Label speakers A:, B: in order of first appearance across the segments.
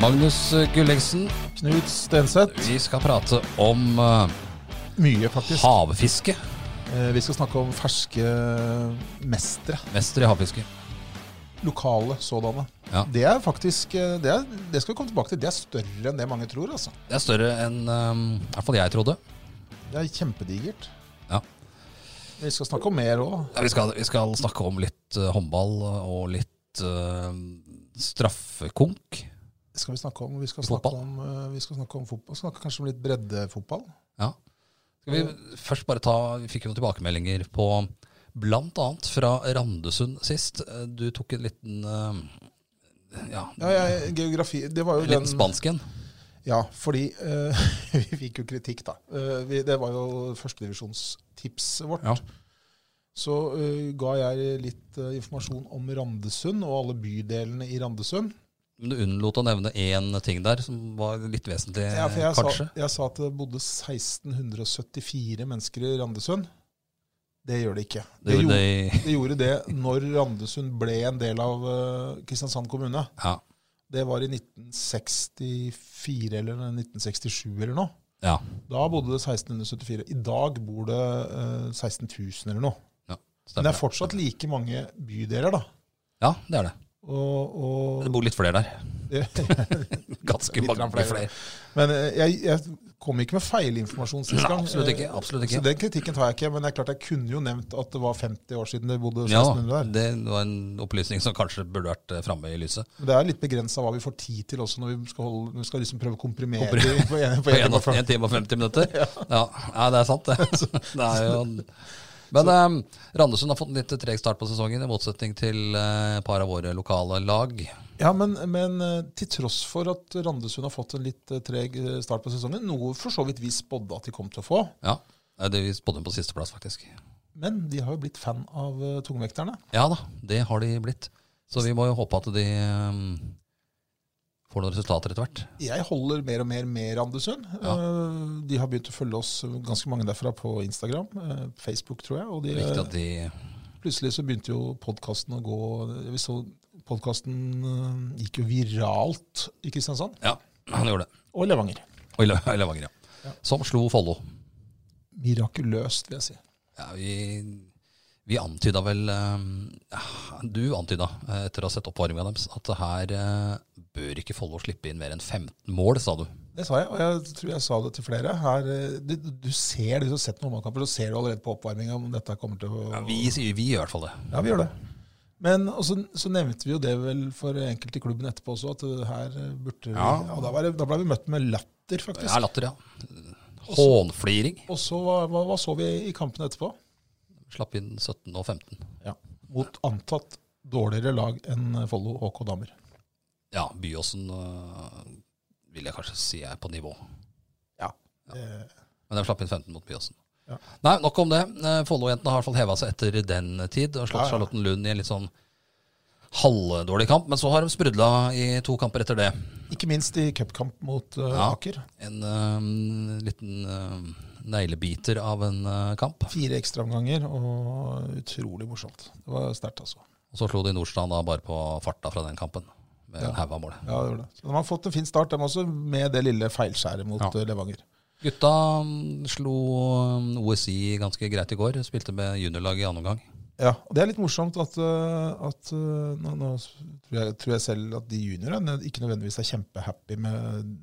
A: Magnus Gulliksen,
B: Knut Stenseth.
A: vi skal prate om eh,
B: Mye, faktisk.
A: havfiske.
B: Eh, Vi skal snakke om ferske mestere.
A: Mester i havfiske.
B: Lokale sådanne.
A: Ja.
B: Det er faktisk eh, det, er, det skal vi komme tilbake til. Det er større enn det mange tror. altså.
A: Det er større enn eh, i hvert fall jeg trodde.
B: Det er kjempedigert.
A: Ja.
B: Vi skal snakke om mer òg.
A: Ja, Vi skal, vi skal snakke om litt eh, håndball og litt eh, straffekonk.
B: Skal vi, snakke om, vi, skal snakke
A: Fotball.
B: om, eh, vi skal snakke om fotball. Snakke kanskje om litt breddefotball.
A: Ja. Skal vi først bare ta Vi fikk jo noen tilbakemeldinger på blant annet fra Randesund sist. Eh, Du tok en liten eh, ja,
B: Ja, ja, geografi Det var jo
A: en liten
B: den
A: spansken.
B: Ja, fordi eh, vi fikk jo kritikk, da. Eh, vi, det var jo førstedivisjonstipset vårt.
A: Ja.
B: Så eh, ga jeg litt eh, informasjon om Randesund og alle bydelene i Randesund.
A: Men du unnlot å nevne én ting der som var litt vesentlig,
B: Ja, for jeg,
A: Eh, kanskje.
B: sa, jeg sa at det bodde 1674 mennesker i Randesund. Det gjør det ikke.
A: Det gjorde
B: gjorde,
A: det i
B: det gjorde det når Randesund ble en del av eh, Kristiansand kommune.
A: Ja.
B: Det var i 1964 eller 1967 eller noe.
A: ja.
B: Da bodde det 1674. I dag bor det eh, 16 000 eller noe. Men
A: Stemmer.
B: det er fortsatt like mange bydeler, da.
A: Ja, det er det.
B: Og,
A: Det
B: og
A: bor litt flere der. Ganske
B: Litt
A: mange
B: flere.
A: flere.
B: Men eh, jeg, jeg kom ikke med feilinformasjon sist
A: Nei,
B: gang.
A: absolutt ikke.
B: Eh,
A: absolutt
B: Så
A: ikke.
B: den kritikken tar jeg ikke. Men det er klart jeg kunne jo nevnt at det var 50 år siden det bodde
A: Ja,
B: 1600 der.
A: det var en opplysning som kanskje burde vært eh, framme i lyset.
B: Men det er litt begrensa hva vi får tid til også når vi skal, holde, når vi skal liksom prøve å komprimere
A: Komprim-
B: det på en, på
A: På
B: en,
A: en
B: på en,
A: en time og 50 minutter. Ja, Nei, det er sant, det. det er jo en... Men eh, Randesund har fått en litt treg start på sesongen, i motsetning til eh, et par av våre lokale lag.
B: Ja, men, men eh, til tross for at Randesund har fått en litt eh, treg eh, start på sesongen, noe for så vidt vi spådde at de kom til å få,
A: Ja, eh, det Vi spådde dem på sisteplass, faktisk.
B: men de har jo blitt fan av eh, tungvekterne.
A: Ja da, det har de blitt. Så vi må jo håpe at de eh, får noen resultater etter hvert.
B: Jeg holder mer og mer med Randesund.
A: Ja.
B: Eh, De har begynt å følge oss, eh, ganske mange derfra, på Instagram, eh, Facebook, tror jeg. Og
A: Det er viktig
B: de, eh,
A: at de
B: plutselig så begynte jo podkasten å gå eh, Vi så podkasten gikk jo viralt i Kristiansand
A: Ja, han gjorde det.
B: og Levanger.
A: Og i Lø- i Levanger, ja. Som slo Follo.
B: Mirakuløst, vil jeg si.
A: Ja, vi, vi antyda vel eh, Du antyda, eh, etter å ha sett oppvarminga deres, at det her eh, bør ikke Follo slippe inn mer enn 15 mål, sa du.
B: Det sa jeg, og jeg tror jeg sa det til flere. Her, eh, du, du ser, Hvis du har sett noen håndballkamper, så ser du allerede på oppvarminga om dette kommer til å
A: Ja, vi, sier- vi gjør i hvert fall det.
B: Ja, vi gjør det. Men og så, så nevnte vi jo det vel for enkelte i klubben etterpå også, at eh, her eh, burde vi, ja.
A: Ja.
B: da, var det, da ble vi møtt med latter, faktisk.
A: Det er latter, ja. Hånfliring.
B: Og så hva, hva, hva så vi i kampen etterpå?
A: Slapp inn 17 og 15.
B: Mot antatt dårligere lag enn Follo HK Damer.
A: Ja, Byåsen eh, vil jeg kanskje si er på nivå.
B: Eh,
A: Men de slapp inn 15 mot Byåsen.
B: Ja.
A: Nei, nok om det. Eh, Follo-jentene har i hvert fall heva seg etter den tid og slått
B: Ja, ja.
A: Charlottenlund i en litt sånn halvdårlig kamp. Men så har de sprudla i to kamper etter det.
B: Ikke minst i cupkamp mot eh,
A: Ja.
B: Aker.
A: En eh, liten eh, neglebiter av en eh, kamp.
B: Fire ekstraomganger, og utrolig morsomt. Det var sterkt, altså.
A: Og så slo de Nordstrand da bare på farta fra den kampen. Med en haug av mål.
B: Ja, det var det. Så de har fått en fin start, de også, med det lille feilskjæret mot
A: Ja.
B: eh, Levanger.
A: Gutta mm, slo eh, OSI ganske greit i går. Spilte med juniorlag i annen omgang.
B: Ja, og Det er litt morsomt at, eh, at eh, nå, nå tror, jeg, tror jeg selv at de juniorene ikke nødvendigvis er kjempehappy med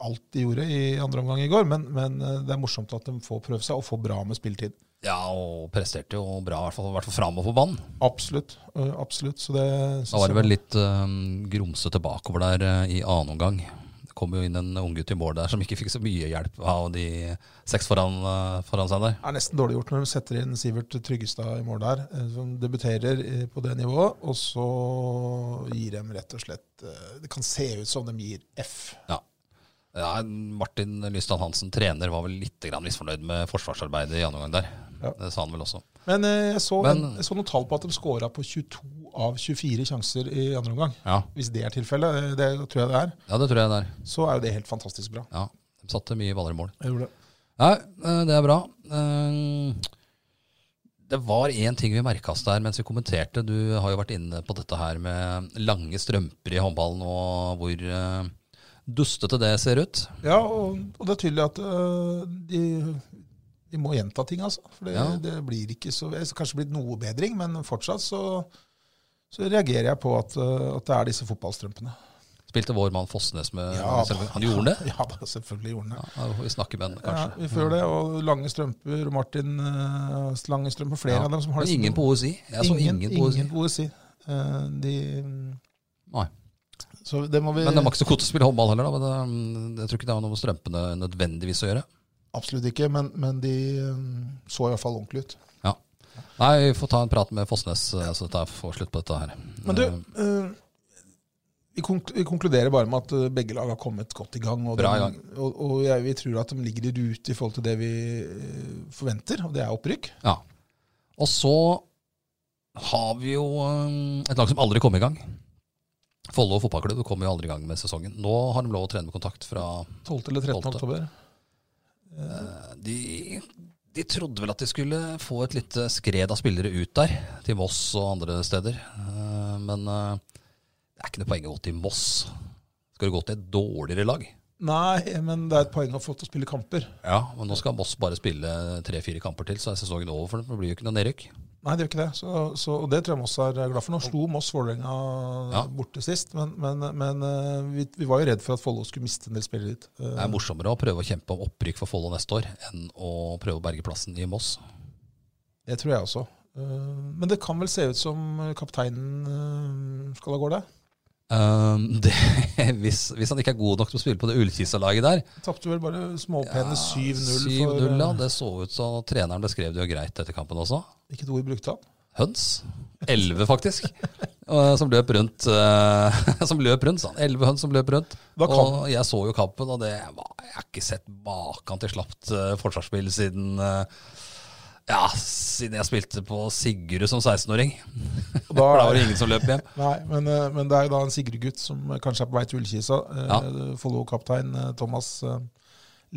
B: alt de gjorde i andre omgang i går, men, men eh, det er morsomt at de får prøve seg og får bra med spilletid.
A: Ja, og presterte jo bra, i hvert fall, i hvert fall framover på banen.
B: Absolutt. eh, absolutt. Så det
A: Da var det vel litt eh, grumsete bakover der eh, i annen omgang. Det kom jo inn en unggutt i mål der som ikke fikk så mye hjelp av de seks foran, eh, foran seg der.
B: er nesten dårlig gjort når de setter inn Sivert Tryggestad i mål der, eh, som debuterer eh, på det nivået. Og så og gir dem rett og slett eh, Det kan se ut som de gir F.
A: Ja, Martin Lystad Hansen, trener, var vel litt grann misfornøyd med forsvarsarbeidet i andre omgang der.
B: Ja.
A: Det sa han vel også.
B: Men eh, jeg så,
A: Men-
B: jeg så noen tall på at de scora på 22 av 24 sjanser i andre omgang.
A: Ja,
B: Hvis det er tilfellet, eh, det tror jeg det er,
A: ja det tror jeg det er.
B: så er jo det helt fantastisk bra.
A: Ja, De satte mye baller i mål.
B: Jeg gjorde det.
A: Nei, eh, det er bra. Eh, Det var én ting vi merka oss der mens vi kommenterte. Du har jo vært inne på dette her med lange strømper i håndballen og hvor eh, dustete det ser ut.
B: Ja, og, og det er tydelig at øh, de, de må gjenta ting, altså. For det,
A: Ja.
B: det blir ikke så det er Kanskje blitt noe bedring, men fortsatt så, så reagerer jeg på at, øh, at det er disse fotballstrømpene.
A: Spilte vår mann Fossnes med
B: Ja,
A: Han gjorde han det?
B: Ja, da, selvfølgelig gjorde han det.
A: Ja, vi snakker med han,
B: Ja,
A: kanskje.
B: vi føler det, og lange strømper, Martin øh, lange strømper, flere
A: Ja,
B: av dem som har
A: Men
B: disse-
A: ingen poesi. Jeg så Altså, ingen, poesi.
B: Ingen poesi. Eh, de,
A: Nei.
B: så det må vi
A: Men det var ikke så godt å spille håndball heller, da. Men det, mm, jeg tror ikke det har noe med strømpene nødvendigvis å gjøre.
B: absolutt ikke, men, men de øh, så i hvert fall ordentlig ut.
A: Nei, vi får ta en prat med Fossnes, eh, så dette får slutt på dette her.
B: Men du,
A: Eh,
B: eh, vi, konk vi konkluderer bare med at eh, begge lag har kommet godt i gang. Og,
A: Bra i
B: de-
A: gang.
B: og, og jeg, vi tror at de ligger i rute i forhold til det vi eh, forventer, og det er opprykk.
A: Ja. Og så har vi jo eh, et lag som aldri kom i gang. Follo fotballklubb kom jo aldri i gang med sesongen. Nå har de lov å trene med kontakt fra
B: 12. eller 13.
A: Tolvte.
B: oktober.
A: eh, de, de trodde vel at de skulle få et lite skred av spillere ut der, til Moss og andre steder. Eh, Men eh, det er ikke noe poeng å gå til Moss. Skal du gå til et dårligere lag?
B: Nei, men det er et poeng å få til å spille kamper.
A: Ja, men nå skal Moss bare spille tre-fire kamper til, så er sesongen over for dem. for Det blir jo ikke noe nedrykk.
B: Nei, det gjør ikke det. Så, så, og det tror jeg Moss er eh, glad for. Nå slo Moss Vålerenga
A: Ja.
B: borte sist, men, men, men eh, vi, vi var jo redd for at Follo skulle miste en del spillere dit. Eh,
A: Det er morsommere å prøve å kjempe om opprykk for Follo neste år enn å prøve å berge plassen i Moss.
B: Det tror jeg også. Eh, Men det kan vel se ut som kapteinen eh, skal av gårde.
A: Ehm, det, hvis, hvis han ikke er god nok til å spille på det Ullkisa-laget der
B: Tapte vel bare småpene 7-0 for
A: 7-0, ja.
B: eh,
A: Det så ut som treneren beskrev det jo greit etter kampen også.
B: Hvilket eh, ord brukte han?
A: Høns. Elleve, faktisk. eh, som løp rundt. eh, som løp rundt, sa han. Elleve høns som løp rundt.
B: Da kan-
A: Og jeg så jo kampen, og det var, jeg har ikke sett maken til slapt eh, forsvarsspill siden eh, ja, siden jeg spilte på Sigurd som 16-åring.
B: Og Da,
A: For da var det ingen som løp hjem.
B: nei, men, eh, men det er jo da en Sigurd-gutt som kanskje er på vei til Ullkisa. eh,
A: Ja.
B: Follo-kaptein eh, Thomas eh,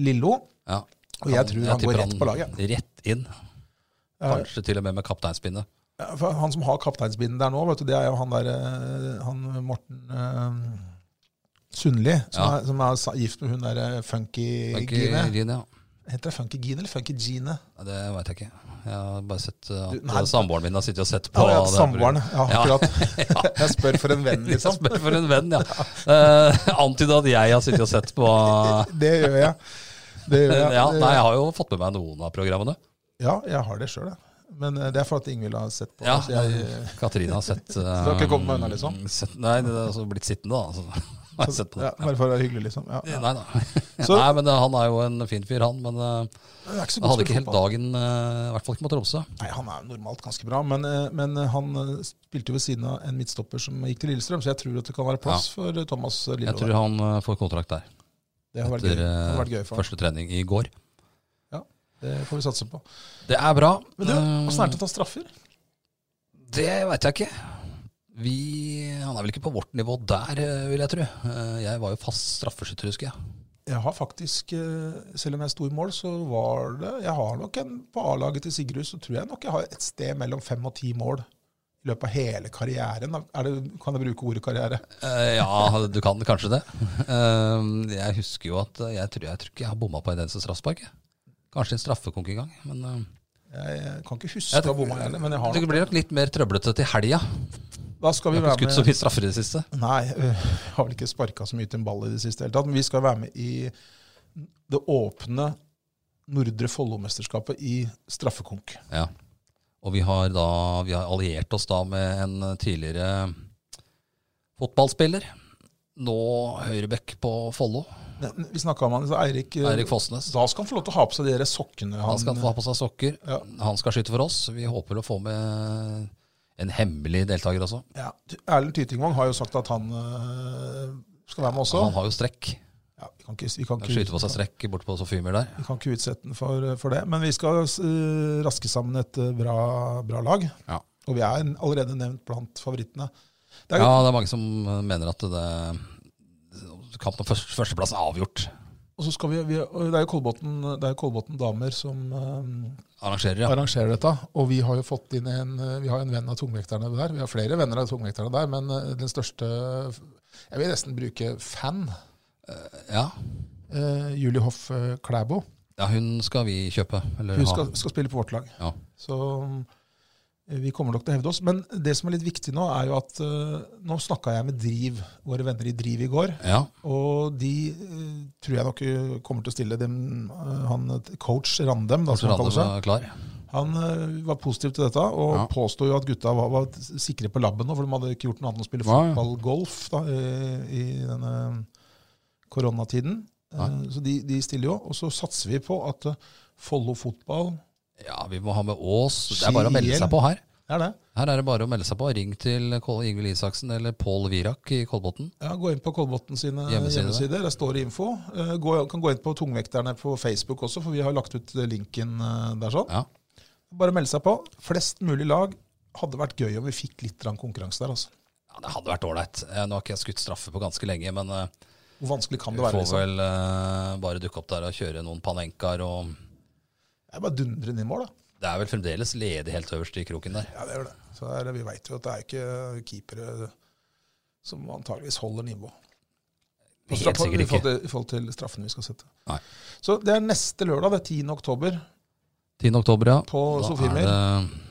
B: Lillo.
A: Ja.
B: Og jeg tror han
A: tipper
B: går rett på laget.
A: Rett inn.
B: Ja.
A: Kanskje til og med med kapteinspinnet.
B: Ja, for Han som har kapteinsbinden der nå, vet du, det er jo han der eh, han Morten eh, Sundli, som,
A: Ja.
B: er, som er sa- gift med hun der eh, Funky,
A: Funky
B: Gine.
A: Gine, ja.
B: Heter det Funky Gine eller Funky Gine?
A: Nei, Det veit jeg ikke. Jeg har bare sett uh,
B: Du,
A: at
B: nei.
A: uh, samboeren min har sittet og sett på.
B: Ja, ja,
A: det her
B: Samboeren. Ja,
A: Ja.
B: akkurat.
A: programmet. ja.
B: Jeg spør for en venn,
A: Jeg
B: liksom.
A: spør for en venn, ja. Uh, Antyda at jeg har sittet og sett på uh,
B: Det gjør jeg. Det gjør jeg.
A: ja,
B: Det-
A: Nei, jeg har jo fått med meg noen av programmene.
B: Ja, jeg har det sjøl, jeg. Men eh, det er for at Ingvild har sett på.
A: Ja,
B: så jeg,
A: Katrine har sett uh,
B: du har ikke kommet meg unna, liksom?
A: Sett, nei, det er altså blitt sittende, da. Altså. Har jeg sett på
B: ja,
A: det.
B: bare for å være hyggelig, liksom. Ja, ja.
A: Nei da.
B: Så-
A: Nei, men uh, han er jo en fin fyr, han. Men uh,
B: Han er ikke så
A: Han
B: god
A: hadde ikke helt
B: spiller fotball.
A: dagen, eh, i hvert fall ikke mot Tromsø.
B: Nei, han er jo normalt ganske bra, men, eh, men eh, han eh, spilte jo ved siden av en midtstopper som gikk til Lillestrøm, så jeg tror at det kan være plass for eh, Thomas Lillo.
A: Jeg tror
B: der.
A: han eh, får kontrakt der.
B: Det har vært gøy,
A: Etter
B: det har
A: eh,
B: vært gøy for han.
A: første trening i går.
B: Det får vi satse på.
A: Det er bra.
B: Men du,
A: Eh,
B: åssen er det til å ta straffer?
A: Det veit jeg ikke. Vi, han er vel ikke på vårt nivå der, eh, vil jeg tro. Eh, Jeg var jo fast straffeskytter, husker jeg.
B: Jeg har faktisk, eh, selv om jeg sto i mål, så var det Jeg har nok en på A-laget til Sigrud, så tror jeg nok jeg har et sted mellom fem og ti mål i løpet av hele karrieren. Er det, kan jeg bruke ordet karriere?
A: Eh, Ja, du kan kanskje det. Eh, Jeg husker jo at eh, jeg tror, jeg tror ikke jeg har bomma på en eneste straffespark. jeg. Kanskje en straffekonk en gang. Men eh,
B: Jeg jeg kan ikke
A: Jeg
B: huske jeg
A: tror-
B: hvor mange er det, men jeg har
A: det
B: noe.
A: blir nok litt mer trøblete til helga.
B: Da skal
A: Vi
B: vi
A: har ikke
B: være
A: skutt så
B: med
A: mye straffer i det siste.
B: Nei, øh, jeg har vel ikke sparka så mye til en ball i det siste hele tatt, men vi skal være med i det åpne Nordre Follo-mesterskapet i straffekonk.
A: Ja. Og vi har da vi har alliert oss da med en tidligere fotballspiller. Nå høyrebekk på Follo.
B: Men Vi snakka om han, så Eirik, øh,
A: Eirik Fossnes.
B: Da skal han få lov til å ha på seg de der sokkene.
A: Han skal få ha på seg sokker.
B: Ja.
A: Han skal skyte for oss. Vi håper å få med en hemmelig deltaker også.
B: Ja. Erlend Tytingvang har jo sagt at han øh, skal være med også.
A: Han har jo strekk.
B: Ja, vi kan ikke, vi kan ikke,
A: Skyter på seg strekk borte på Sofiemyr der.
B: Vi kan ikke utsette den for, for det. Men vi skal eh, raske sammen et eh, bra, bra lag.
A: Ja.
B: Og vi er allerede nevnt blant favorittene. Det er,
A: Ja, det er mange som eh, mener at det kampen om først- førsteplassen er avgjort.
B: Og så skal vi, vi og Det er jo Kolbotn, det er jo Kolbotn damer som eh,
A: Arrangerer, ja.
B: arrangerer dette. Og vi har jo fått inn en, eh, vi har en venn av tungvekterne der. Vi har flere venner av tungvekterne der, men eh, den største Jeg vil nesten bruke fan.
A: ja.
B: eh, Julie Hoff eh, Klæbo.
A: Ja, hun skal vi kjøpe. Eller
B: Hun
A: ha.
B: skal, skal spille på vårt lag.
A: Ja.
B: Så mm, vi kommer nok til å hevde oss. Men det som er litt viktig nå, er jo at eh, Nå snakka jeg med Driv, våre venner i Driv i går.
A: Ja.
B: Og de eh, tror jeg nok eh, kommer til å stille dem eh, han, Coach Randem, da,
A: Så
B: som han
A: Randers
B: kaller seg.
A: er klar.
B: Han eh, var positiv til dette, og
A: Ja.
B: påsto jo at gutta var, var sikre på labben nå, for de hadde ikke gjort noe annet enn å spille
A: Nei.
B: fotball-golf da, i, i denne koronatiden. Eh,
A: Nei.
B: Så de, de stiller jo, og så satser vi på at eh, Follo fotball
A: Ja, vi må ha med Ås. Det er bare å melde seg på her.
B: det er det.
A: Her er det bare å melde seg på. Ring til Kål- Ingvild Isaksen eller Pål Virak i Kolbotn.
B: Ja, Gå inn på Kolbotn sine
A: Hjemmesider.
B: hjemmesider. Der står det info. Eh, Gå, kan gå inn på Tungvekterne på Facebook også, for vi har lagt ut eh, linken eh, der. sånn.
A: Ja.
B: Bare melde seg på. Flest mulig lag. Hadde vært gøy om vi fikk litt grann konkurranse der. altså.
A: ja, det hadde vært ålreit. Eh, Nå har ikke jeg skutt straffe på ganske lenge, men eh,
B: Hvor vanskelig kan
A: vi
B: det
A: får
B: være? liksom?
A: vel eh, bare dukke opp der og kjøre noen panenkaer og
B: Det er bare å dundre inn i mål, da.
A: Det er vel fremdeles ledig helt øverst i kroken der.
B: Ja, det gjør det. Så er det, Vi veit jo at det er ikke keepere som antageligvis holder nivå. På
A: Helt
B: straffa-
A: sikkert
B: I forhold
A: ikke.
B: til, i forhold til straffene vi skal sette.
A: Nei.
B: Så det er neste lørdag, det er 10. oktober,
A: 10. oktober, ja.
B: på
A: Da er
B: Sofiemyr.
A: det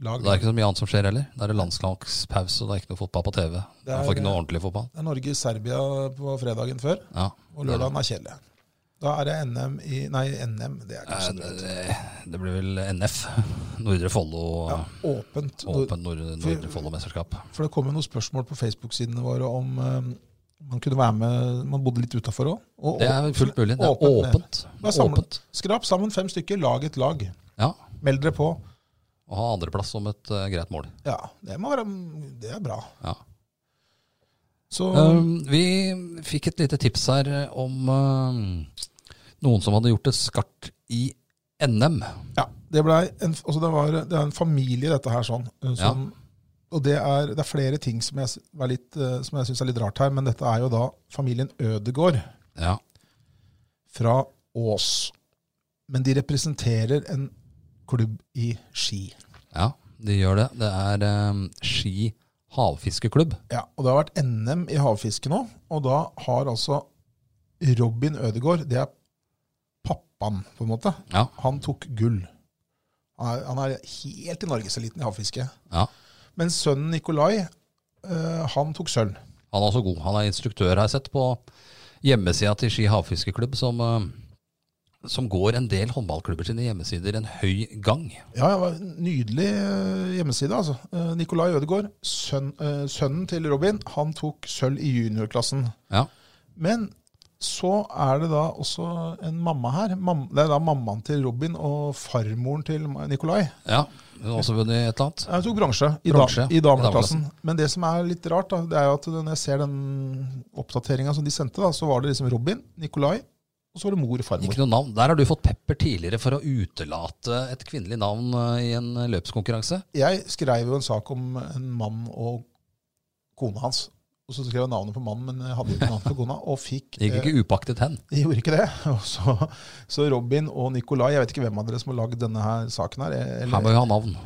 B: Lag.
A: Det er ikke så mye annet som skjer heller. Da er det landslagspause, og det er ikke noe fotball på TV.
B: Det er-
A: Man får ikke noe ordentlig fotball.
B: Det er Norge-Serbia på fredagen før,
A: Ja.
B: og lørdagen er kjedelig. Da er det NM i Nei, NM, det
A: Eh,
B: er kanskje
A: Det,
B: drøyt.
A: det, det blir vel NF. Nordre Follo.
B: Ja, åpent.
A: Åpent Nordre, Nordre Follo-mesterskap.
B: For det kom jo noen spørsmål på Facebook-sidene våre om eh, man kunne være med Man bodde litt utafor òg. Og
A: Det er vel fullt mulig. Det er
B: Åpent ned.
A: åpent.
B: Bare samle-
A: Åpent.
B: skrap sammen fem stykker, lag et lag.
A: Ja.
B: Meld dere på.
A: Å ha andreplass som et eh, greit mål.
B: Ja, det må være Det er bra.
A: Ja.
B: Så
A: Um, vi fikk et lite tips her om um, noen som hadde gjort det skarpt i NM.
B: ja, det blei en Altså, det, var, det er en familie, dette her, sånn. eh, Som, Og det er, det er flere ting som jeg, s- er litt, eh, som jeg syns er litt rart her, men dette er jo da familien Ødegård
A: Ja.
B: fra Ås. Men de representerer en klubb i Ski.
A: ja, de gjør det. Det er um, Ski havfiskeklubb.
B: Ja, og det har vært NM i havfiske nå, og da har altså Robin Ødegård, det er pappaen, på en måte,
A: Ja.
B: han tok gull. Han er, han er helt i norgeseliten i havfiske.
A: ja.
B: Men sønnen Nikolai, eh, han tok sølv.
A: Han er også god. Han er instruktør, har jeg sett, på hjemmesida til Ski havfiskeklubb, som, eh, som går en del håndballklubber sine hjemmesider en høy gang.
B: Ja, det var en Nydelig eh, hjemmeside, altså. Eh, Nikolai Ødegård, sønn, eh, sønnen til Robin, han tok sølv i juniorklassen.
A: Ja.
B: Men så er det da også en mamma her. Mam det er da mammaen til Robin og farmoren til Nikolai.
A: ja. Hun har også vunnet et eller annet.
B: Jeg tok bronse i,
A: Bronse,
B: da, i dameklassen.
A: i
B: Men det som er litt rart, da, det er jo at når jeg ser den oppdateringa som de sendte, da, så var det liksom Robin, Nikolai, og så var det mor og farmor.
A: Ikke noe navn. Der har du fått pepper tidligere for å utelate et kvinnelig navn eh, i en løpskonkurranse.
B: Jeg skrev jo en sak om en mann og kona hans. Og så skrev jeg navnet på mannen, men jeg hadde jo ikke navn på kona. Og fikk
A: Det gikk
B: eh,
A: ikke upaktet hen.
B: De gjorde ikke det. Og så, så Robin og Nikolai, jeg vet ikke hvem av dere som har lagd denne her saken her. eh,
A: Her
B: Eller
A: må vi ha navn.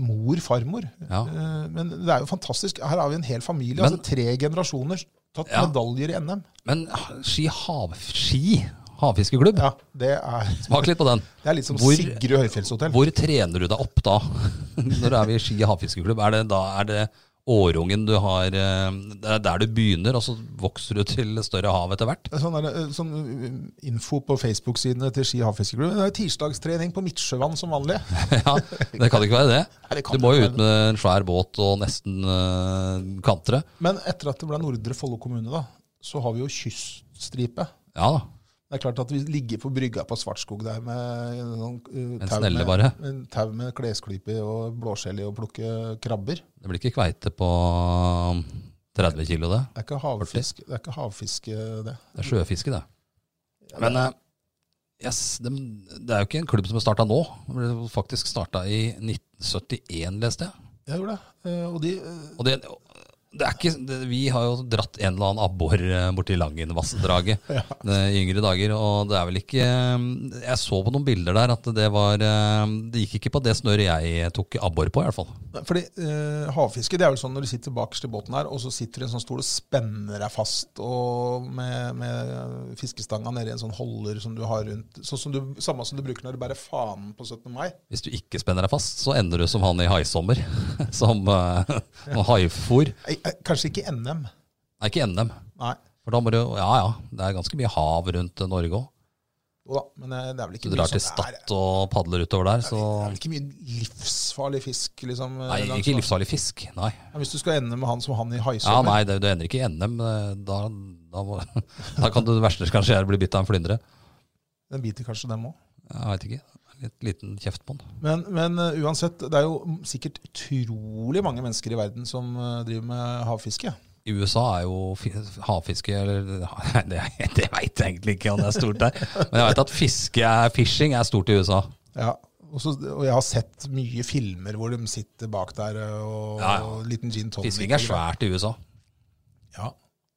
B: mor, farmor.
A: Ja.
B: Eh, Men det er jo fantastisk. Her har vi en hel familie.
A: Men-
B: altså Tre generasjoner tatt
A: Ja.
B: medaljer i NM.
A: Men Ski, hav, ski havfiskeklubb,
B: Ja, det er,
A: smak litt på den.
B: det er litt som
A: Hvor-
B: Sigrud høyfjellshotell.
A: Hvor trener du deg opp da? Når er vi i Ski havfiskeklubb? Er det, da, er det årungen du har eh, Det er der du begynner, og så vokser du til større hav etter hvert?
B: Det er Sånn, er det, eh, sånn eh, info på Facebook-sidene til Ski havfiskeklubb. Det er tirsdagstrening på Midtsjøvann som vanlig.
A: Ja, Det kan ikke være det.
B: Nei, det kan
A: Du må jo
B: ikke være
A: ut med en svær båt og nesten eh, kantre.
B: Men etter at det ble Nordre Follo kommune, da, så har vi jo kyststripe.
A: Ja da.
B: Det er klart at vi ligger på brygga på Svartskog der med en sånn, eh,
A: En
B: tau
A: snelle
B: med-
A: bare.
B: en tau med klesklype og blåskjell i og plukke krabber.
A: Det blir ikke kveite på 30 kilo, det.
B: Det er ikke havfiske, det. Er ikke havfiske, det.
A: Det er sjøfiske, det. Men eh, yes, dem- det er jo ikke en klubb som er starta nå. Den ble jo faktisk starta i 1971, leste jeg.
B: Jeg gjorde det. Eh, Og de eh,
A: Og det, det er ikke, det, vi har jo dratt en eller annen abbor eh, borti Langenvassdraget eh, i yngre dager. Og det er vel ikke eh, Jeg så på noen bilder der at det var eh, Det gikk ikke på det snøret jeg tok abbor på, i hvert fall.
B: Fordi eh, havfiske det er vel sånn når du sitter bakerst i båten her, og så sitter du i en sånn stol og spenner deg fast og med, med fiskestanga nedi en sånn holder som du har rundt Sånn som du, Samme som du bruker når du bærer fanen på 17. mai.
A: Hvis du ikke spenner deg fast, så ender du som han i haisommer. Som eh, noen haifor.
B: Eh, eh, Kanskje ikke NM.
A: Nei, ikke NM.
B: Nei.
A: For da må du Ja ja, det er ganske mye hav rundt eh, Norge òg.
B: Jo da, men eh, det er vel
A: Du
B: ikke
A: drar til
B: som er-
A: Stad og padler utover der, så
B: Det er vel ikke mye livsfarlig fisk, liksom? eh,
A: Nei,
B: langs
A: ikke
B: land.
A: livsfarlig fisk. Nei.
B: Ja, Hvis du skal ende med han som han i
A: Ja,
B: haisommer.
A: nei, det, du ender ikke i NM. eh, Da, da, må, da kan du det verste som kan skje, er å bli bitt av en flyndre.
B: den biter kanskje dem òg.
A: Jeg veit ikke. Litt liten kjeft på den.
B: Men, men eh, uansett, det er jo sikkert utrolig mange mennesker i verden som eh, driver med havfiske.
A: I USA er jo fi- havfiske eller, Nei, Det, det veit jeg egentlig ikke om det er stort der. Men jeg veit at fiske er fishing er stort i USA.
B: Ja, og, så, og jeg har sett mye filmer hvor de sitter bak der eh, og,
A: Ja, ja.
B: og liten gin tonic.
A: Fisking er svært i USA.
B: Ja.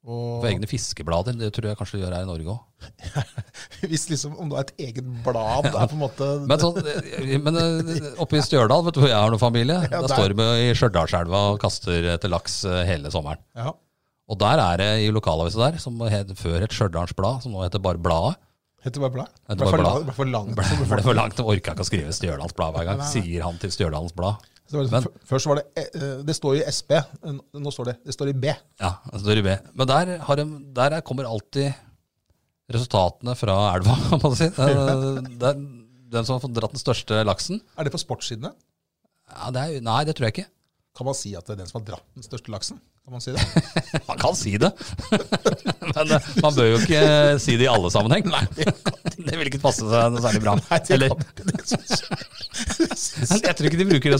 A: På
B: Og
A: egne fiskeblader. Det tror jeg kanskje de gjør her i Norge òg.
B: hvis liksom, om du har et eget blad det er på en måte
A: Men, sånn, eh, men eh, oppe i Stjørdal, vet du hvor jeg har noen familie,
B: Ja,
A: der
B: der.
A: står vi i Stjørdalselva og kaster etter laks eh, hele sommeren.
B: ja.
A: Og der er det i lokalavisa der, som het, før het Stjørdals Blad, som nå heter bare Bladet.
B: Heter det bare blad?
A: Heter
B: Det
A: bare
B: ble for
A: blad.
B: lang- ble for langt.
A: Ble,
B: for
A: ble
B: befolkningen.
A: det for langt, orka ikke å skrive Stjørdals Blad hver gang,
B: Nei, nei.
A: sier han til Stjørdals Blad.
B: Så det var liksom- f- Først var det eh, eh, Det står i SB. eh, Nå står det Det står i B.
A: Ja, altså, det er i B. Men der, har de, der er- kommer alltid resultatene fra elva, må man si. Det- det er Den som har fått dratt den største laksen?
B: Er det på sportssidene?
A: Ja, det er, jo- nei, det tror jeg ikke.
B: Kan man si at det er den som har dratt den største laksen? Kan man si det?
A: Man kan si det, men eh, man bør jo ikke si det i alle sammenheng. Det vil ikke passe seg noe særlig bra. Eller, jeg tror ikke de bruker det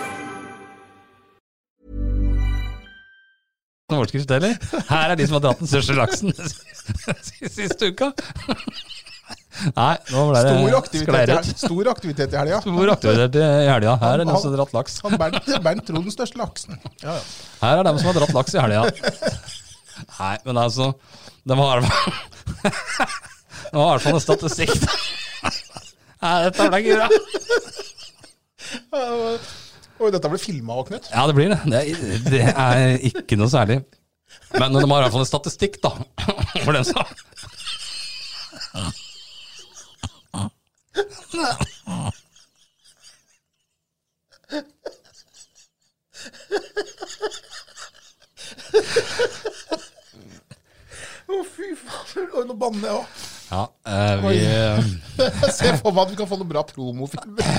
A: noen overskrift heller. Her er de som har dratt den største laksen siste, siste uka. Nei, nå ble
B: Stor
A: det sklei
B: aktivitet, i
A: ut.
B: hel- stor aktivitet i helga.
A: Stor aktivitet i helga. Her er noen som har dratt laks.
B: Han Bernt, Bernt tror den største laksen. Ja, ja.
A: Her er dem som har dratt laks i helga. Nei, men altså De har i hvert fall De har i hvert fall en statistikk. Nei, dette ble ikke bra.
B: Ja, Oi, dette ble filma òg, Knut.
A: Ja, det blir det. Det er, det er ikke noe særlig. Men de har i hvert fall en statistikk, da. For den som
B: Å, fy faen. Oi, nå banner jeg òg.
A: Ja, eh, vi eh,
B: Jeg ser for meg at vi kan få noen bra promofilmer.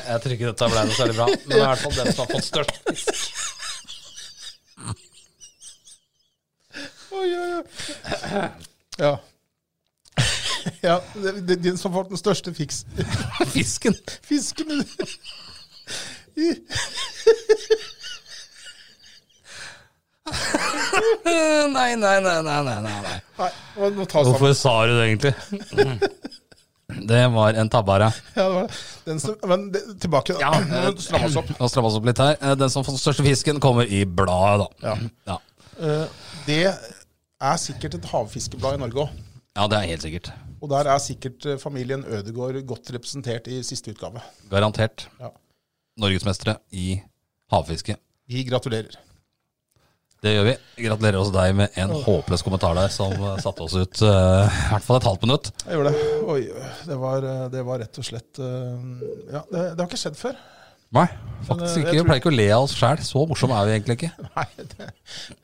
A: Jeg tror ikke dette ble noe særlig bra. Men det er i hvert fall den som har fått størst fisk.
B: Oi, oi, oi. Ja. Ja, det, det, den som har fått den største fiks,
A: Fisken.
B: fisken
A: Nei, nei, nei, nei, nei, nei, nei.
B: Nei, nå- nå tar vi sammen.
A: Hvorfor sa du det egentlig? Det var en tabbare.
B: Ja, det var det. Den som, men det, tilbake.
A: Ja,
B: Nå strammer vi oss opp.
A: Nå strammer vi oss opp litt her. Eh, Den som får den største fisken, kommer i bladet, da. Ja.
B: Eh, Det er sikkert et havfiskeblad i Norge òg.
A: ja, det er helt sikkert.
B: Og der er sikkert eh, familien Ødegård godt representert i siste utgave.
A: Garantert.
B: Ja.
A: Norgesmestere i havfiske.
B: Vi gratulerer.
A: Det gjør vi. Gratulerer også deg med en håpløs kommentar der som eh, satte oss ut eh, i hvert fall et halvt minutt.
B: Jeg gjorde det. Oi, det var, eh, det var rett og slett eh, Ja, det, det har ikke skjedd før.
A: Nei,
B: Men, eh,
A: faktisk
B: jeg
A: ikke. Vi
B: tror-
A: pleier ikke å le av oss sjæl. Så morsomme er vi egentlig ikke.
B: Nei, det,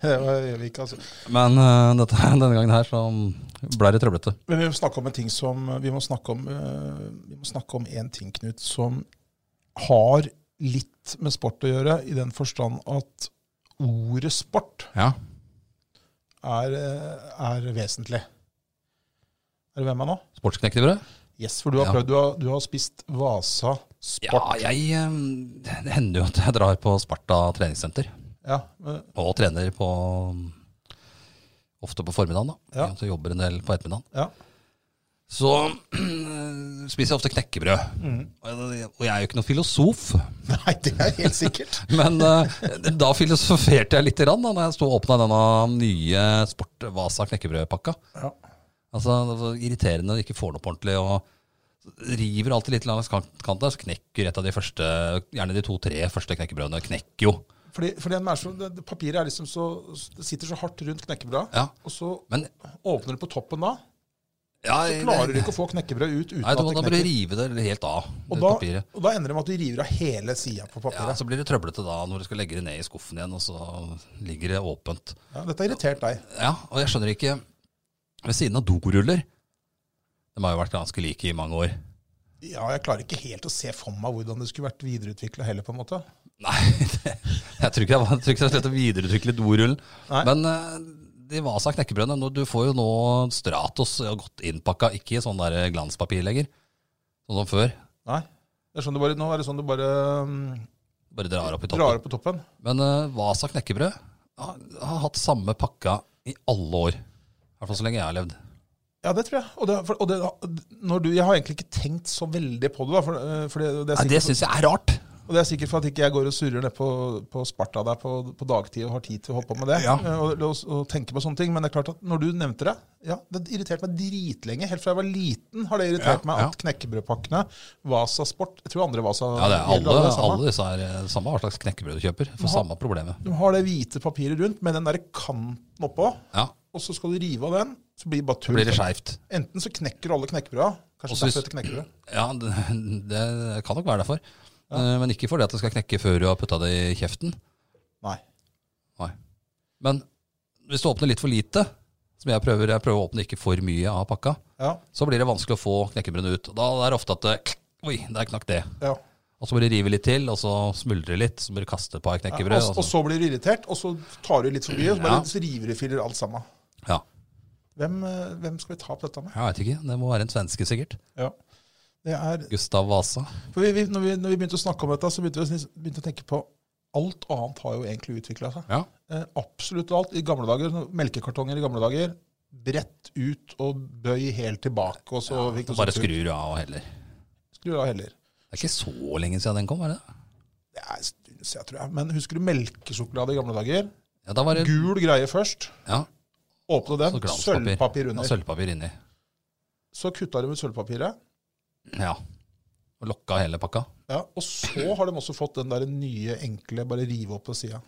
B: det var- gjør vi ikke, altså.
A: Men eh, dette, denne gangen her så ble det trøblete.
B: Men vi må snakke om en ting som Vi må snakke om, eh, vi må snakke om en ting, Knut, som har litt med sport å gjøre, i den forstand at ordet sport
A: Ja.
B: er, eh, er vesentlig. Er du med meg nå?
A: Sportsknekkebrød?
B: Yes, for du har
A: Ja.
B: prøvd. Du har, du har spist Vasa
A: Ja,
B: Sport.
A: jeg eh, Det hender jo at jeg drar på Sparta treningssenter.
B: Ja, men-
A: Og trener på Ofte på formiddagen, da.
B: Ja.
A: Så jobber en del på ettermiddagen.
B: ja.
A: Så spiser jeg ofte knekkebrød.
B: Mm.
A: Og jeg og jeg er jo ikke noen filosof.
B: Nei, det er helt sikkert.
A: Men eh, da filosoferte jeg litt grann, da når jeg sto og åpna denne nye Sport Vasa knekkebrødpakka.
B: Ja.
A: Altså, det var Irriterende når du ikke får det opp ordentlig. og River alltid litt langs kant- kanten, der, så knekker et av de første, gjerne de to-tre første knekkebrødene. Knekker jo.
B: Fordi, fordi den er så, det, det Papiret er liksom så, det sitter så hardt rundt knekkebrødet,
A: Ja,
B: og så
A: men
B: åpner du på toppen da,
A: ja,
B: så klarer du ikke å få knekkebrød ut uten
A: Nei,
B: at
A: da,
B: det
A: da bør du
B: knekker.
A: rive det helt av.
B: Og
A: det
B: da,
A: papiret.
B: og da ender det med at du river av hele sida på
A: Ja,
B: papiret.
A: Så blir det trøblete da når du skal legge det ned i skuffen igjen, og så ligger det åpent.
B: Ja, Dette har irritert deg.
A: Ja, og jeg skjønner ikke Ved siden av doruller De har jo vært ganske like i mange år.
B: Ja, jeg klarer ikke helt å se for meg hvordan det skulle vært videreutvikla heller, på en måte.
A: Nei, det, jeg tror ikke det var- jeg tror ikke det er slett å videreutvikle dorullen.
B: Nei.
A: Men eh, de Vasa knekkebrødene nå- Du får jo nå Stratos eh, godt innpakka, ikke i sånn der glanspapir lenger. Sånn som før.
B: Nei. Det er sånn du bare, nå er det sånn du bare mm,
A: Bare drar opp i toppen.
B: drar opp på toppen.
A: Men eh, Vasa knekkebrød har, har hatt samme pakka i alle år. I hvert fall så lenge jeg har levd.
B: Ja, det tror jeg. Og det, for, og det, når du, jeg har egentlig ikke tenkt så veldig på det. da, for, eh, for det, det, er
A: Nei, det
B: sikkert,
A: syns jeg er rart.
B: og det er sikkert for at ikke jeg går og surrer ned på, på Sparta der på, på dagtid og har tid til å holde på med det.
A: Ja.
B: eh, Og, og, og tenke på sånne ting. Men det er klart at når du nevnte det ja, Det irriterte meg dritlenge. Helt fra jeg var liten har det irritert
A: Ja,
B: meg
A: ja.
B: at knekkebrødpakkene, Vasa Sport Jeg tror andre Vasa
A: Ja, det er
B: gjelder
A: alle,
B: samme.
A: alle disse er eh, samme hva slags knekkebrød du kjøper. Får samme problemet.
B: De har det hvite papiret rundt med den der kanten oppå.
A: Ja,
B: Og så skal du rive av den, så blir det bare
A: så
B: tull.
A: blir det skeivt.
B: Enten så knekker alle knekkebrøda. Kanskje
A: Også hvis-
B: derfor heter knekkebrød.
A: Ja, det, det kan nok være derfor. Eh, Men ikke fordi at det skal knekke før du har putta det i kjeften.
B: Nei.
A: Nei. Men hvis du åpner litt for lite, som jeg prøver, jeg prøver å åpne ikke for mye av pakka,
B: Ja,
A: så blir det vanskelig å få knekkebrødene ut. Da er det ofte at det, Oi, der knakk det.
B: ja.
A: Og så må du rive litt til, og så smuldre litt, så må du kaste et par knekkebrød. altså.
B: og, og så blir du irritert, og så tar du litt for mye, og så, bare,
A: Ja.
B: så river du filler alt sammen.
A: ja.
B: Hvem, eh, hvem skal vi ta opp dette med?
A: Jeg veit ikke. Det må være en svenske, sikkert.
B: Ja. Det er,
A: Gustav Vasa.
B: for vi, vi, når, vi, når vi begynte å snakke om dette, så begynte vi å snis- begynte å tenke på alt annet har jo egentlig utvikla seg.
A: Ja.
B: Eh, absolutt alt. I gamle dager, no- melkekartonger i gamle dager, bredt ut og bøy helt tilbake. Og så fikk du
A: Bare
B: sånn tur.
A: skrur av heller.
B: Skru av heller.
A: Det er ikke så lenge siden den kom, er det? det?
B: Det er en stund siden, tror jeg. Men husker du melkesjokolade i gamle dager?
A: Ja, da var det
B: Gul greie først.
A: ja, så
B: Åpne den.
A: glanspapir.
B: Sølvpapir
A: Ja,
B: under.
A: sølvpapir inni.
B: Så kutta de ut sølvpapiret.
A: Ja. Og lokka hele pakka.
B: Ja, og så har de også fått den der nye, enkle, bare rive opp på sida.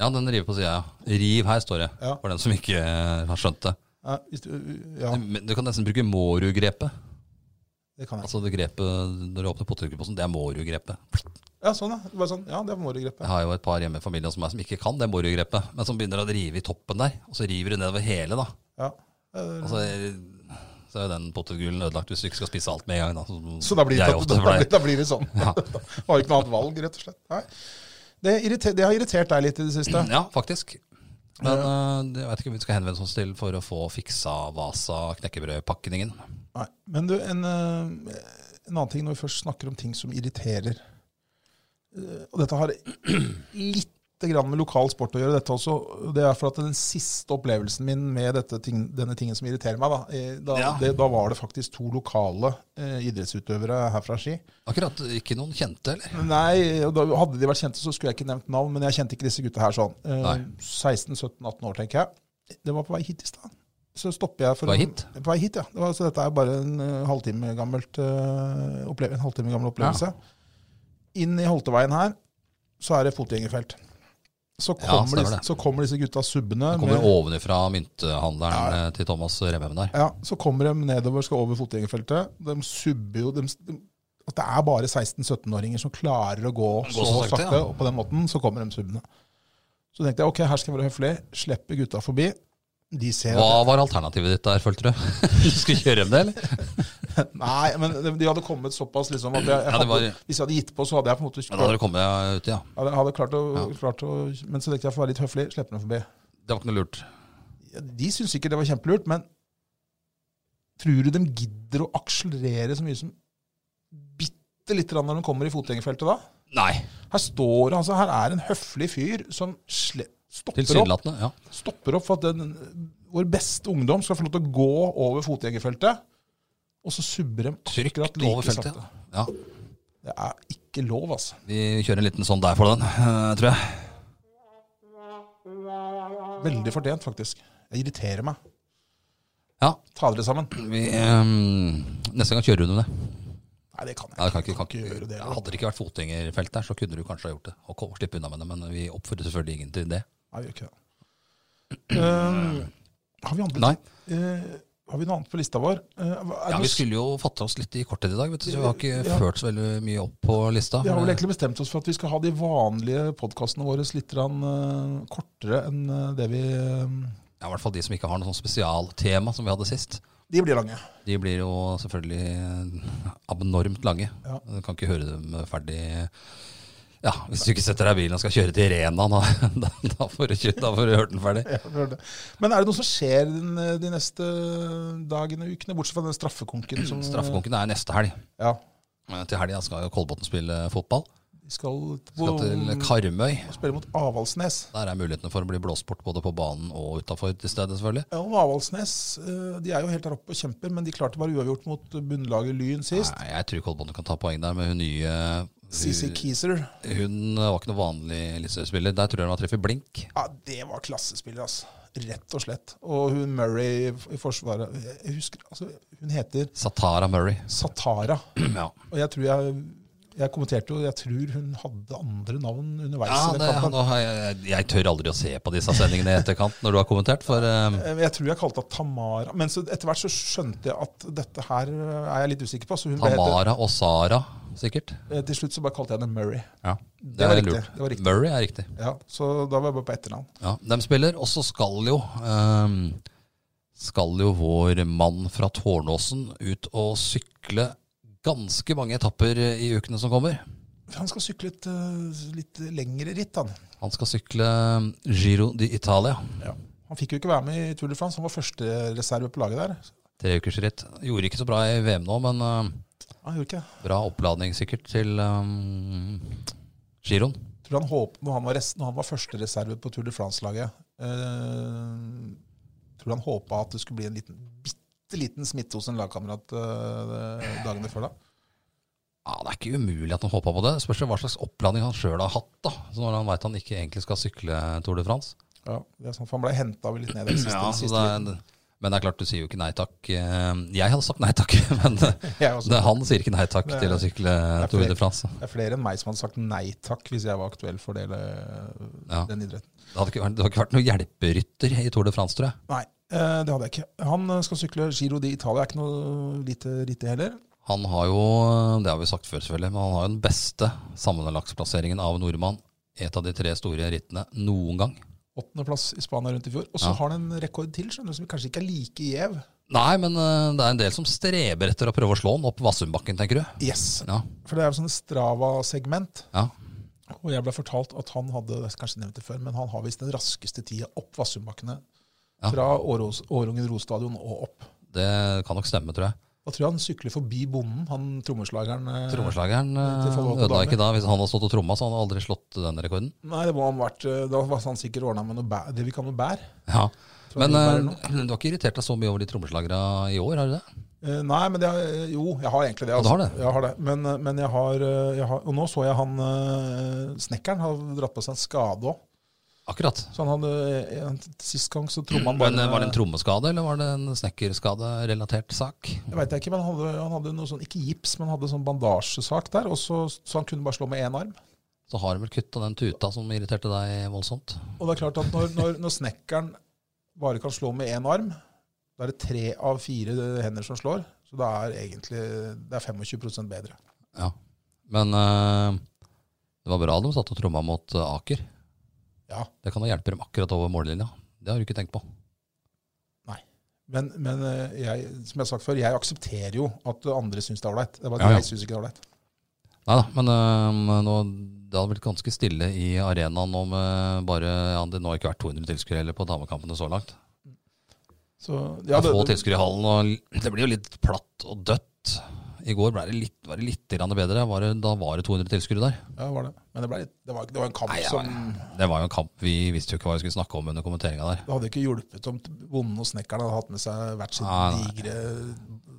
A: Ja, den river på sida, ja. Riv her, står det.
B: Ja.
A: For den som ikke eh, har skjønt det.
B: Ja, hvis du- ja,
A: Men Du kan nesten bruke Mårud-grepet.
B: det kan jeg.
A: Altså det grepet når du åpner potetgullposen, det er Mårud-grepet.
B: Ja, sånn, ja. Bare sånn. Ja, det var
A: Jeg
B: moregrepet.
A: har jo et par hjemme i familien som, er, som ikke kan det Mårud-grepet, men som begynner å rive i toppen der. Og så river du nedover hele, da.
B: Ja. Eh,
A: Og så er, så er jo den potetgullen ødelagt hvis du ikke skal spise alt med en gang. Da, som
B: Så da blir, det,
A: jeg
B: da,
A: ofte
B: da, blir,
A: pleier.
B: da blir det sånn.
A: Ja.
B: Har ikke noe annet valg, rett og slett. Nei. Det, irriter, det har irritert deg litt i det siste.
A: Ja, faktisk. Men eh, jeg vet ikke om vi skal henvende oss til for å få fiksa Vasa-knekkebrødpakningen.
B: Nei. Men du, en, eh, en annen ting når vi først snakker om ting som irriterer Eh, Og dette har lite grann med lokal sport å gjøre, dette også. Det er for at den siste opplevelsen min med dette ting, denne tingen som irriterer meg, da, eh, da,
A: Ja.
B: det, da var det faktisk to lokale eh, idrettsutøvere her fra Ski.
A: Akkurat ikke noen kjente, eller?
B: Nei, og da hadde de vært kjente, så skulle jeg ikke nevnt navn, men jeg kjente ikke disse gutta her sånn. Eh,
A: Nei.
B: 16-17-18 år, tenker jeg. Det var på vei hit i stad. Så stopper jeg for
A: På vei hit?
B: På vei hit, ja. Det var, så dette er bare en eh, halvtime, gammelt, eh, opple en halvtime gammel opplevelse. Inn i Holteveien her, så er det fotgjengerfelt. så
A: Ja,
B: kommer,
A: stemmer
B: disse,
A: det.
B: så kommer disse gutta subbene.
A: Det
B: med-
A: kommer ovenifra mynthandleren eh, til Thomas Remhaugen der.
B: Ja, så kommer de nedover, skal over fotgjengerfeltet. De subber jo de, de, At det er bare 16-17-åringer som klarer å gå, så,
A: så sakte,
B: sakte,
A: ja.
B: og på den måten så kommer de subbende. Så tenkte jeg ok, her skal jeg være høflig, slippe gutta forbi. De ser at
A: Hva var alternativet ditt der, følte du? du skulle kjøre hjem det, eller?
B: Nei, men de, de hadde kommet såpass liksom at jeg, jeg
A: Ja, det
B: hadde,
A: var-
B: Hvis jeg hadde gitt på, så hadde jeg på en måte
A: Men da hadde du kommet deg ut, ja.
B: hadde, hadde klart, å,
A: Ja.
B: klart å Men så tenkte jeg for å være litt høflig, slippe dem forbi.
A: Det var ikke noe lurt.
B: Ja, De syns sikkert det var kjempelurt, men tror du de gidder å akselerere så mye som bitte lite grann når de kommer i fotgjengerfeltet da?
A: Nei,
B: Her står det, altså, her er en høflig fyr som sle stopper, opp,
A: tilsynelatende. Ja.
B: stopper opp for at den, vår beste ungdom skal få lov til å gå over fotgjengerfeltet. Og så subber de
A: Trygt
B: akkurat
A: over
B: like
A: feltet,
B: sakte.
A: ja.
B: Det er ikke lov, altså.
A: Vi kjører en liten sånn der for den, eh, tror jeg.
B: Veldig fortjent, faktisk. Jeg irriterer meg.
A: Ja,
B: Ta dere sammen.
A: vi, ehm, neste gang kjører du under det.
B: Nei, det kan jeg
A: Ja, det kan ikke, kan
B: ikke gjøre det.
A: Ja, hadde det ikke vært fotgjengerfelt der, så kunne du kanskje ha gjort det. Og kom, slippe unna med det, men eh, vi oppfordrer selvfølgelig ingen til det.
B: Nei, vi gjør ikke det. Ehm, har, vi andre,
A: Nei.
B: eh, har vi noe annet på lista vår? Eh, hva- er
A: Ja,
B: det
A: Vi
B: noe-
A: skulle jo fatte oss litt i kortet i dag, vet du, så vi har ikke
B: Ja.
A: ført så veldig mye opp på lista.
B: vi har vel egentlig bestemt oss for at vi skal ha de vanlige podkastene våre litt grann, eh, kortere enn eh, det vi eh,
A: Ja, I hvert fall de som ikke har noe sånn spesialtema som vi hadde sist.
B: De blir lange.
A: De blir jo selvfølgelig eh, abnormt lange.
B: Ja.
A: Du kan ikke høre dem ferdig Ja, Hvis du ikke setter deg i bilen og skal kjøre til Rena, da, da, da får du kjø- da får du hørt den ferdig.
B: Ja, vi hører det. Men er det noe som skjer den, eh, de neste dagene og ukene, bortsett fra den straffekonken? Som,
A: Straffekonken er neste helg.
B: Ja,
A: Eh, Til helga skal jo Kolbotn spille fotball.
B: de skal,
A: Skal til Karmøy.
B: spille mot Avaldsnes.
A: Der er mulighetene for å bli blåst bort både på banen og utafor til stede, selvfølgelig.
B: Ja, og Avaldsnes eh, de er jo helt der oppe og kjemper, men de klarte bare uavgjort mot bunnlaget Lyn sist.
A: Nei, jeg tror Kolbotn kan ta poeng der med hun nye
B: CC
A: hun,
B: Kieser.
A: hun var ikke noe vanlig eliteseriespiller. Der tror jeg hun har treffet blink.
B: Ja, det var klassespiller, altså. Rett og slett. Og hun Murray i forsvaret Jeg husker, altså, Hun heter
A: Satara Murray.
B: Satara.
A: Ja,
B: Og jeg tror jeg jeg kommenterte jo, jeg tror hun hadde andre navn underveis.
A: ja
B: i
A: det,
B: den kampen.
A: nå har jeg, jeg tør aldri å se på disse sendingene i etterkant når du har kommentert, for eh,
B: Eh, Jeg tror jeg kalte henne Tamara, men så etter hvert så skjønte jeg at dette her eh, er jeg litt usikker på. Så hun ble heter,
A: Tamara og Sara, sikkert.
B: eh, til slutt så bare kalte jeg henne Murray.
A: Ja, det,
B: var
A: er
B: riktig,
A: lurt.
B: det var riktig.
A: Murray er riktig.
B: Ja, Så da var jeg bare på etternavn.
A: Ja, de spiller, og så skal jo eh, skal jo vår mann fra Tårnåsen ut og sykle ganske mange etapper i ukene som kommer.
B: For Han skal sykle et eh, litt lengre ritt, han.
A: Han skal sykle ehm, Giro di Italia.
B: Han fikk jo ikke være med i Tour de France, han var førstereserve på laget der.
A: Tre ukers ritt. Gjorde ikke så bra i VM nå, men eh,
B: Han gjorde ikke det.
A: bra oppladning sikkert til eh, Giroen.
B: tror han håpet når han var, rest, når han var førstereserve på Tour de France-laget eh, Tror han håpa at det skulle bli en liten, bitte liten smitte hos en lagkamerat eh, dagene før da.
A: Ja, Det er ikke umulig at han håpa på det. Spørs jo hva slags oppladning han sjøl har hatt. da, så når han veit han ikke egentlig skal sykle Tour de France.
B: Ja, det er sånn, for Han ble henta litt ned i den siste,
A: Ja, så
B: siste
A: det er, men det er klart, du sier jo ikke nei takk. Eh, Jeg hadde sagt nei takk, men
B: liten. Jeg også.
A: det, han sier ikke nei takk
B: Det er-
A: til å sykle
B: det er
A: Tour
B: flere.
A: de France.
B: Det er flere enn meg som hadde sagt nei takk hvis jeg var aktuell for det, eller-
A: Ja.
B: den idretten.
A: Det hadde ikke vært, det hadde ikke vært noen hjelperytter i Tour de France, tror jeg.
B: Nei, eh, det hadde jeg ikke. Han eh, skal sykle Giro di Italia. Er ikke noe lite ritt, det heller.
A: Han har jo, eh, det har vi sagt før selvfølgelig, men han har jo den beste sammenlagtplasseringen av nordmann. Et av de tre store rittene noen gang.
B: Åttendeplass i Spania rundt i fjor. Og så
A: Ja.
B: har han en rekord til skjønner du, som kanskje ikke er like gjev.
A: Nei, men eh, det er en del som streber etter å prøve å slå han opp Vassumbakken, tenker du?
B: Yes,
A: Ja,
B: For det er jo sånn Strava-segment.
A: ja.
B: Og jeg ble fortalt at han hadde jeg har kanskje nevnt det før, men han har visst den raskeste tida opp Vassumbakkene.
A: Ja.
B: Fra Åros- Årungen Rostadion og opp.
A: Det kan nok stemme, tror jeg.
B: Da tror jeg han sykler forbi bonden, han trommeslageren. eh,
A: Trommeslageren eh,
B: Til forhold til
A: ødela
B: damer.
A: ikke da. Hvis han hadde stått og tromma, så hadde han aldri slått den rekorden.
B: Nei, det må han vært, eh, Da var han sikkert ordna med noe bær, det vi kan med bær.
A: Ja,
B: Tror
A: Men
B: jeg det
A: eh,
B: var
A: du har ikke irritert deg så mye over de trommeslagere i år, har du det?
B: Eh, Nei, men det, er- jo, jeg har egentlig det.
A: Ja, du
B: altså.
A: har det?
B: Jeg har det. Men, eh, men jeg har, eh, jeg har Og nå så jeg han eh, snekkeren har dratt på seg en skade òg.
A: Akkurat.
B: Så han hadde eh, en, Sist gang så tromma han bare
A: Men eh, Var det en trommeskade, eller var det en snekkerskaderelatert sak?
B: Jeg vet ikke, men han hadde, han hadde noe sånn, ikke gips, men han hadde sånn bandasjesak der. Og så, så han kunne bare slå med én arm.
A: Så har de vel kutta den tuta som irriterte deg voldsomt.
B: Og det er klart at når, når, når snekkeren bare kan slå med én arm, da er det tre av fire hender som slår. Så det er egentlig det er 25 bedre.
A: Ja. Men eh, det var bra de satt og tromma mot eh, Aker.
B: Ja.
A: Det kan da hjelpe dem akkurat over mållinja. Det har du ikke tenkt på.
B: Men, men eh, jeg, som jeg har sagt før, jeg aksepterer jo at andre syns det er ålreit. Det er bare at
A: Ja, ja.
B: jeg syns ikke det er ålreit.
A: Nei da, men eh, nå, det hadde blitt ganske stille i arenaen om eh, bare ja, Det nå har ikke vært 200 tilskuere heller på damekampene så langt.
B: Så,
A: Det
B: ja,
A: er få
B: det-
A: tilskuere i hallen, og det blir jo litt platt og dødt. I går ble det litt, var det litt grann bedre. Var det, da var det 200 tilskuere der.
B: Ja, var det. Men det, ble litt, det, var, det var en kamp
A: Nei, ja,
B: som
A: Det var jo en kamp vi visste jo ikke hva vi skulle snakke om under kommenteringa der.
B: Det hadde ikke hjulpet om t- bonden og snekkeren hadde hatt med seg hvert sitt
A: Nei, nei.
B: digre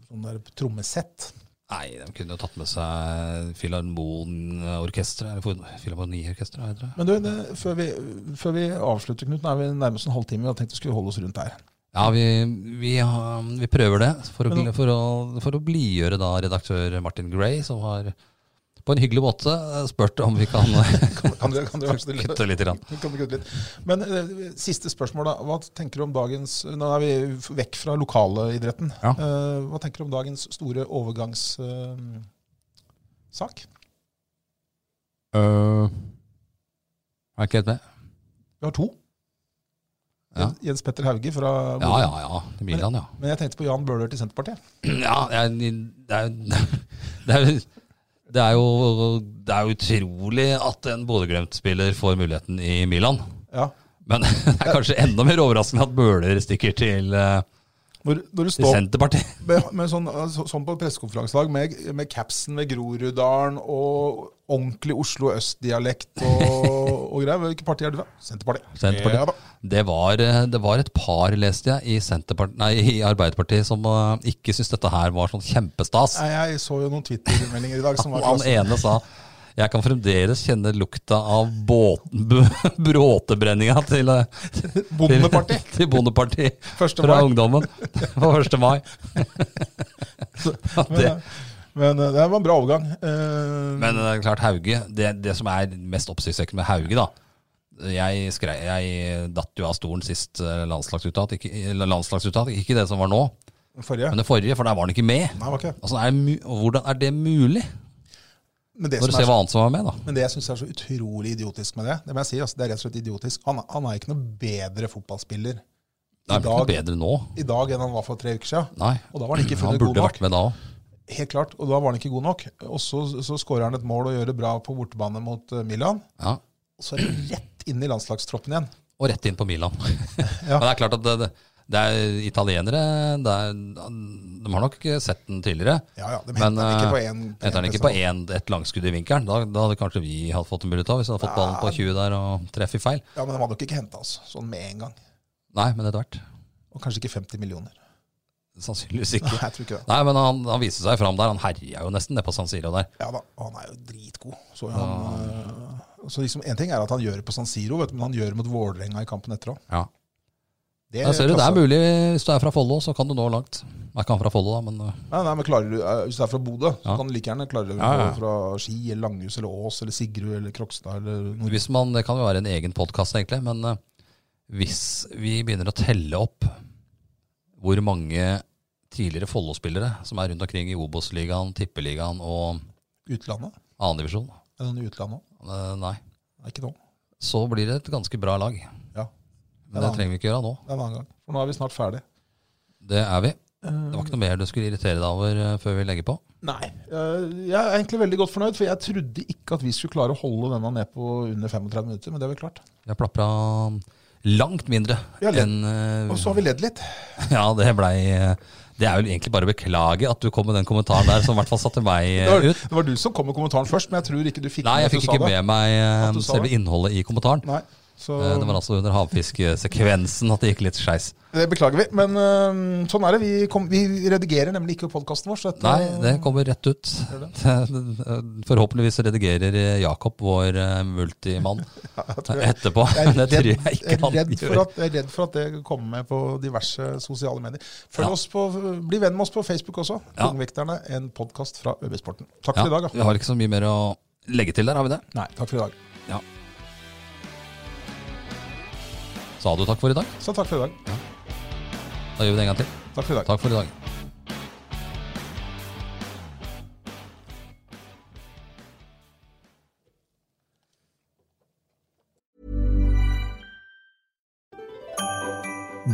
B: sånn der trommesett.
A: Nei, de kunne jo tatt med seg Filharmonorkesteret, eller Fil- Filharmoniorkesteret, hva heter det?
B: Men du, det, før, vi, før vi avslutter, Knut, nå er vi nærmest en halvtime. Jeg tenkte vi skulle holde oss rundt der.
A: Ja, vi, vi, har- vi prøver det for å,
B: Men
A: for, å, for å blidgjøre da redaktør Martin Gray, som har på en hyggelig måte eh, spurt om vi kan eh,
B: Kan, kan, du- kan du være så snill?
A: kutte litt. Grann.
B: Kan du kutte litt? Men eh, siste spørsmål, da. Hva tenker du om dagens Nå er vi vekk fra lokalidretten.
A: Ja.
B: Eh, hva tenker du om dagens store eh, overgangssak?
A: Eh, er ikke helt med?
B: vi har to.
A: Ja.
B: Jens Petter Hauge fra
A: Ja, ja, ja. til Milan, ja.
B: Men jeg tenkte på Jan Bøhler til Senterpartiet.
A: Ja, jeg, det er jo det er, jo- det er jo Det er jo utrolig at en Bodø-Glimt-spiller får muligheten i Milan.
B: Ja.
A: Men det er kanskje enda mer overraskende at Bøhler stikker til, eh,
B: Når, når du
A: til
B: står
A: Senterpartiet.
B: med, med sånn, så- sånn på pressekonferansedag med, med capsen med Groruddalen og ordentlig Oslo øst-dialekt og, og greier Hvilket parti er du fra? Senterpartiet.
A: Senterpartiet.
B: Ja, da.
A: Det var, eh, det var et par, leste jeg, i, Senterpart- nei, i Arbeiderpartiet som eh, ikke syntes dette her var sånn kjempestas.
B: Nei, jeg så jo noen Twitter-meldinger i dag som var sånn-
A: Han ene sa jeg kan fremdeles kjenne lukta av båten, b- bråtebrenninga til, eh,
B: Bondeparti.
A: til, til Bondepartiet
B: Første
A: fra
B: mai.
A: ungdommen på 1. mai. Ja, det,
B: Men, men eh, det var en bra overgang. Eh,
A: Men det er klart Hauge, det, det som er mest oppsiktsvekkende med Hauge, da jeg, skre- jeg datt jo av stolen sist eh, landslagsuttak, ikke, eller landslagsuttak, ikke det som var nå,
B: forrige?
A: men det forrige, for der var han ikke med.
B: Nei, var ikke det.
A: Altså, er det mu og hvordan er det mulig,
B: Men det,
A: når du
B: som
A: ser
B: er,
A: hva annet som var med? da?
B: men det jeg syns er så utrolig idiotisk med det, det må jeg si, altså, det er rett og slett idiotisk. Han, han er ikke noe bedre fotballspiller
A: Det er
B: i
A: vel ikke noe
B: dag,
A: bedre nå?
B: i dag enn han var for tre uker siden.
A: Nei.
B: Og da var han ikke
A: Han
B: funnet god
A: burde
B: nok.
A: vært med da òg.
B: Helt klart, og da var han ikke god nok. Og så, så skårer han et mål og gjør det bra på bortebane mot eh, Milan.
A: Ja.
B: Og så er det rett inn i landslagstroppen igjen.
A: Og rett inn på Milan. Men det er klart at det, det, det er italienere det er, De har nok sett den tidligere.
B: Ja, ja, de
A: Men
B: henter han ikke på
A: eh,
B: en- på
A: henter
B: en
A: han ikke på en,
B: prestasjon.
A: et langskudd i vinkelen. Da, da hadde kanskje vi hatt fått en mulighet av, hvis vi hadde fått ballen på 20 der og treffer feil.
B: Ja, Men de hadde nok ikke henta oss sånn med en gang.
A: Nei, men etter hvert.
B: Og kanskje ikke 50 millioner.
A: Sannsynligvis
B: Nei,
A: ikke.
B: jeg tror ikke det.
A: Nei, men han, han viste seg fram der. Han herja jo nesten nede på San Siro der.
B: Ja da, Han er jo dritgod. Så, han, eh, så liksom, En ting er at han gjør det på San Siro, vet du, men han gjør det mot Vålerenga i kampen etter òg.
A: Ja.
B: Det,
A: Jeg ser du, det er altså
B: klasse.
A: mulig hvis du er fra Follo, så kan du nå langt. Jeg er ikke han fra Follo, da, men øh,
B: Nei, nei, men klarer du, eh, Hvis du er fra Bodø, så
A: Ja.
B: kan du like gjerne klare det
A: Ja, ja.
B: fra Ski eller Langhus eller Ås eller Sigrud eller Krokstad eller noe
A: hvis man, det kan jo være en egen podkast, egentlig. Men øh, hvis vi begynner å telle opp hvor mange tidligere Follo-spillere som er rundt omkring i Obos-ligaen, Tippeligaen og
B: utlandet.
A: annendivisjon
B: Er det noen i utlandet òg?
A: eh, Nei.
B: Ikke nå.
A: så blir det et ganske bra lag.
B: Ja.
A: Men det trenger vi ikke gjøre nå.
B: Det er en annen gang. For nå er vi snart ferdig.
A: Det er vi. Det var ikke noe mer du skulle irritere deg over eh, før vi legger på.
B: Nei. Eh, Jeg er egentlig veldig godt fornøyd, for jeg trodde ikke at vi skulle klare å holde denne ned på under 35 minutter, men det har vi klart.
A: Vi har plapra langt mindre
B: Vi har ledd.
A: enn eh,
B: Og så har vi ledd litt.
A: Ja, det blei eh, Det er vel egentlig bare å beklage at du kom med den kommentaren der som i hvert fall satte meg
B: Det
A: eh,
B: var,
A: ut.
B: det var du som kom med kommentaren først, men jeg tror ikke du fikk
A: Nei,
B: med
A: jeg
B: at du
A: fikk
B: sa
A: ikke
B: det.
A: med meg eh,
B: At du sa
A: selve
B: det?
A: innholdet i kommentaren.
B: Nei, så
A: Eh, Det var altså under havfiskesekvensen at det gik litt skeis.
B: det beklager vi. Men øhm, sånn er det. Vi, kom, vi redigerer nemlig ikke podkasten vår. Så dette-
A: Nei, det kommer rett ut. Forhåpentligvis redigerer eh, Jakob, vår eh, multimann, etterpå.
B: jeg
A: Det tror
B: er, redd,
A: jeg
B: jeg,
A: ikke
B: er
A: han
B: redd for
A: gjør.
B: at, jeg er redd for at det kommer med på diverse sosiale medier. Følg
A: Ja.
B: oss på, Bli venn med oss på Facebook også.
A: Ja.
B: Tungvekterne, en podkast fra ØB-sporten. Takk
A: Ja,
B: for i dag. altså. da.
A: vi har ikke så mye mer å legge til der, har vi det?
B: Nei, takk for i dag.
A: Sa du takk for i dag?
B: Så takk for i dag.
A: Da gjør vi det en gang til.
B: Takk for i dag.
A: Takk for i dag.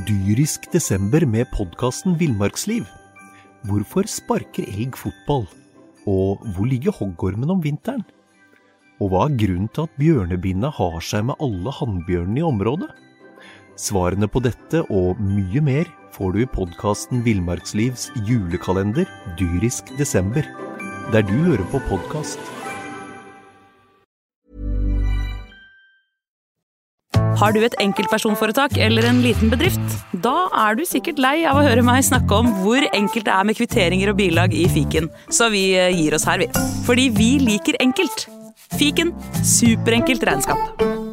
C: Dyrisk desember med podkasten Villmarksliv. Hvorfor sparker elg fotball? Og hvor ligger hoggormen om vinteren? Og hva er grunnen til at bjørnebinna har seg med alle hannbjørnene i området? Svarene på dette og mye mer får du i podkasten Villmarkslivs julekalender dyrisk desember, der du hører på podkast.
D: Har du et enkeltpersonforetak eller en liten bedrift? Da er du sikkert lei av å høre meg snakke om hvor enkelt det er med kvitteringer og bilag i fiken, så vi eh, gir oss her, vi. Fordi vi liker enkelt. Fiken superenkelt regnskap.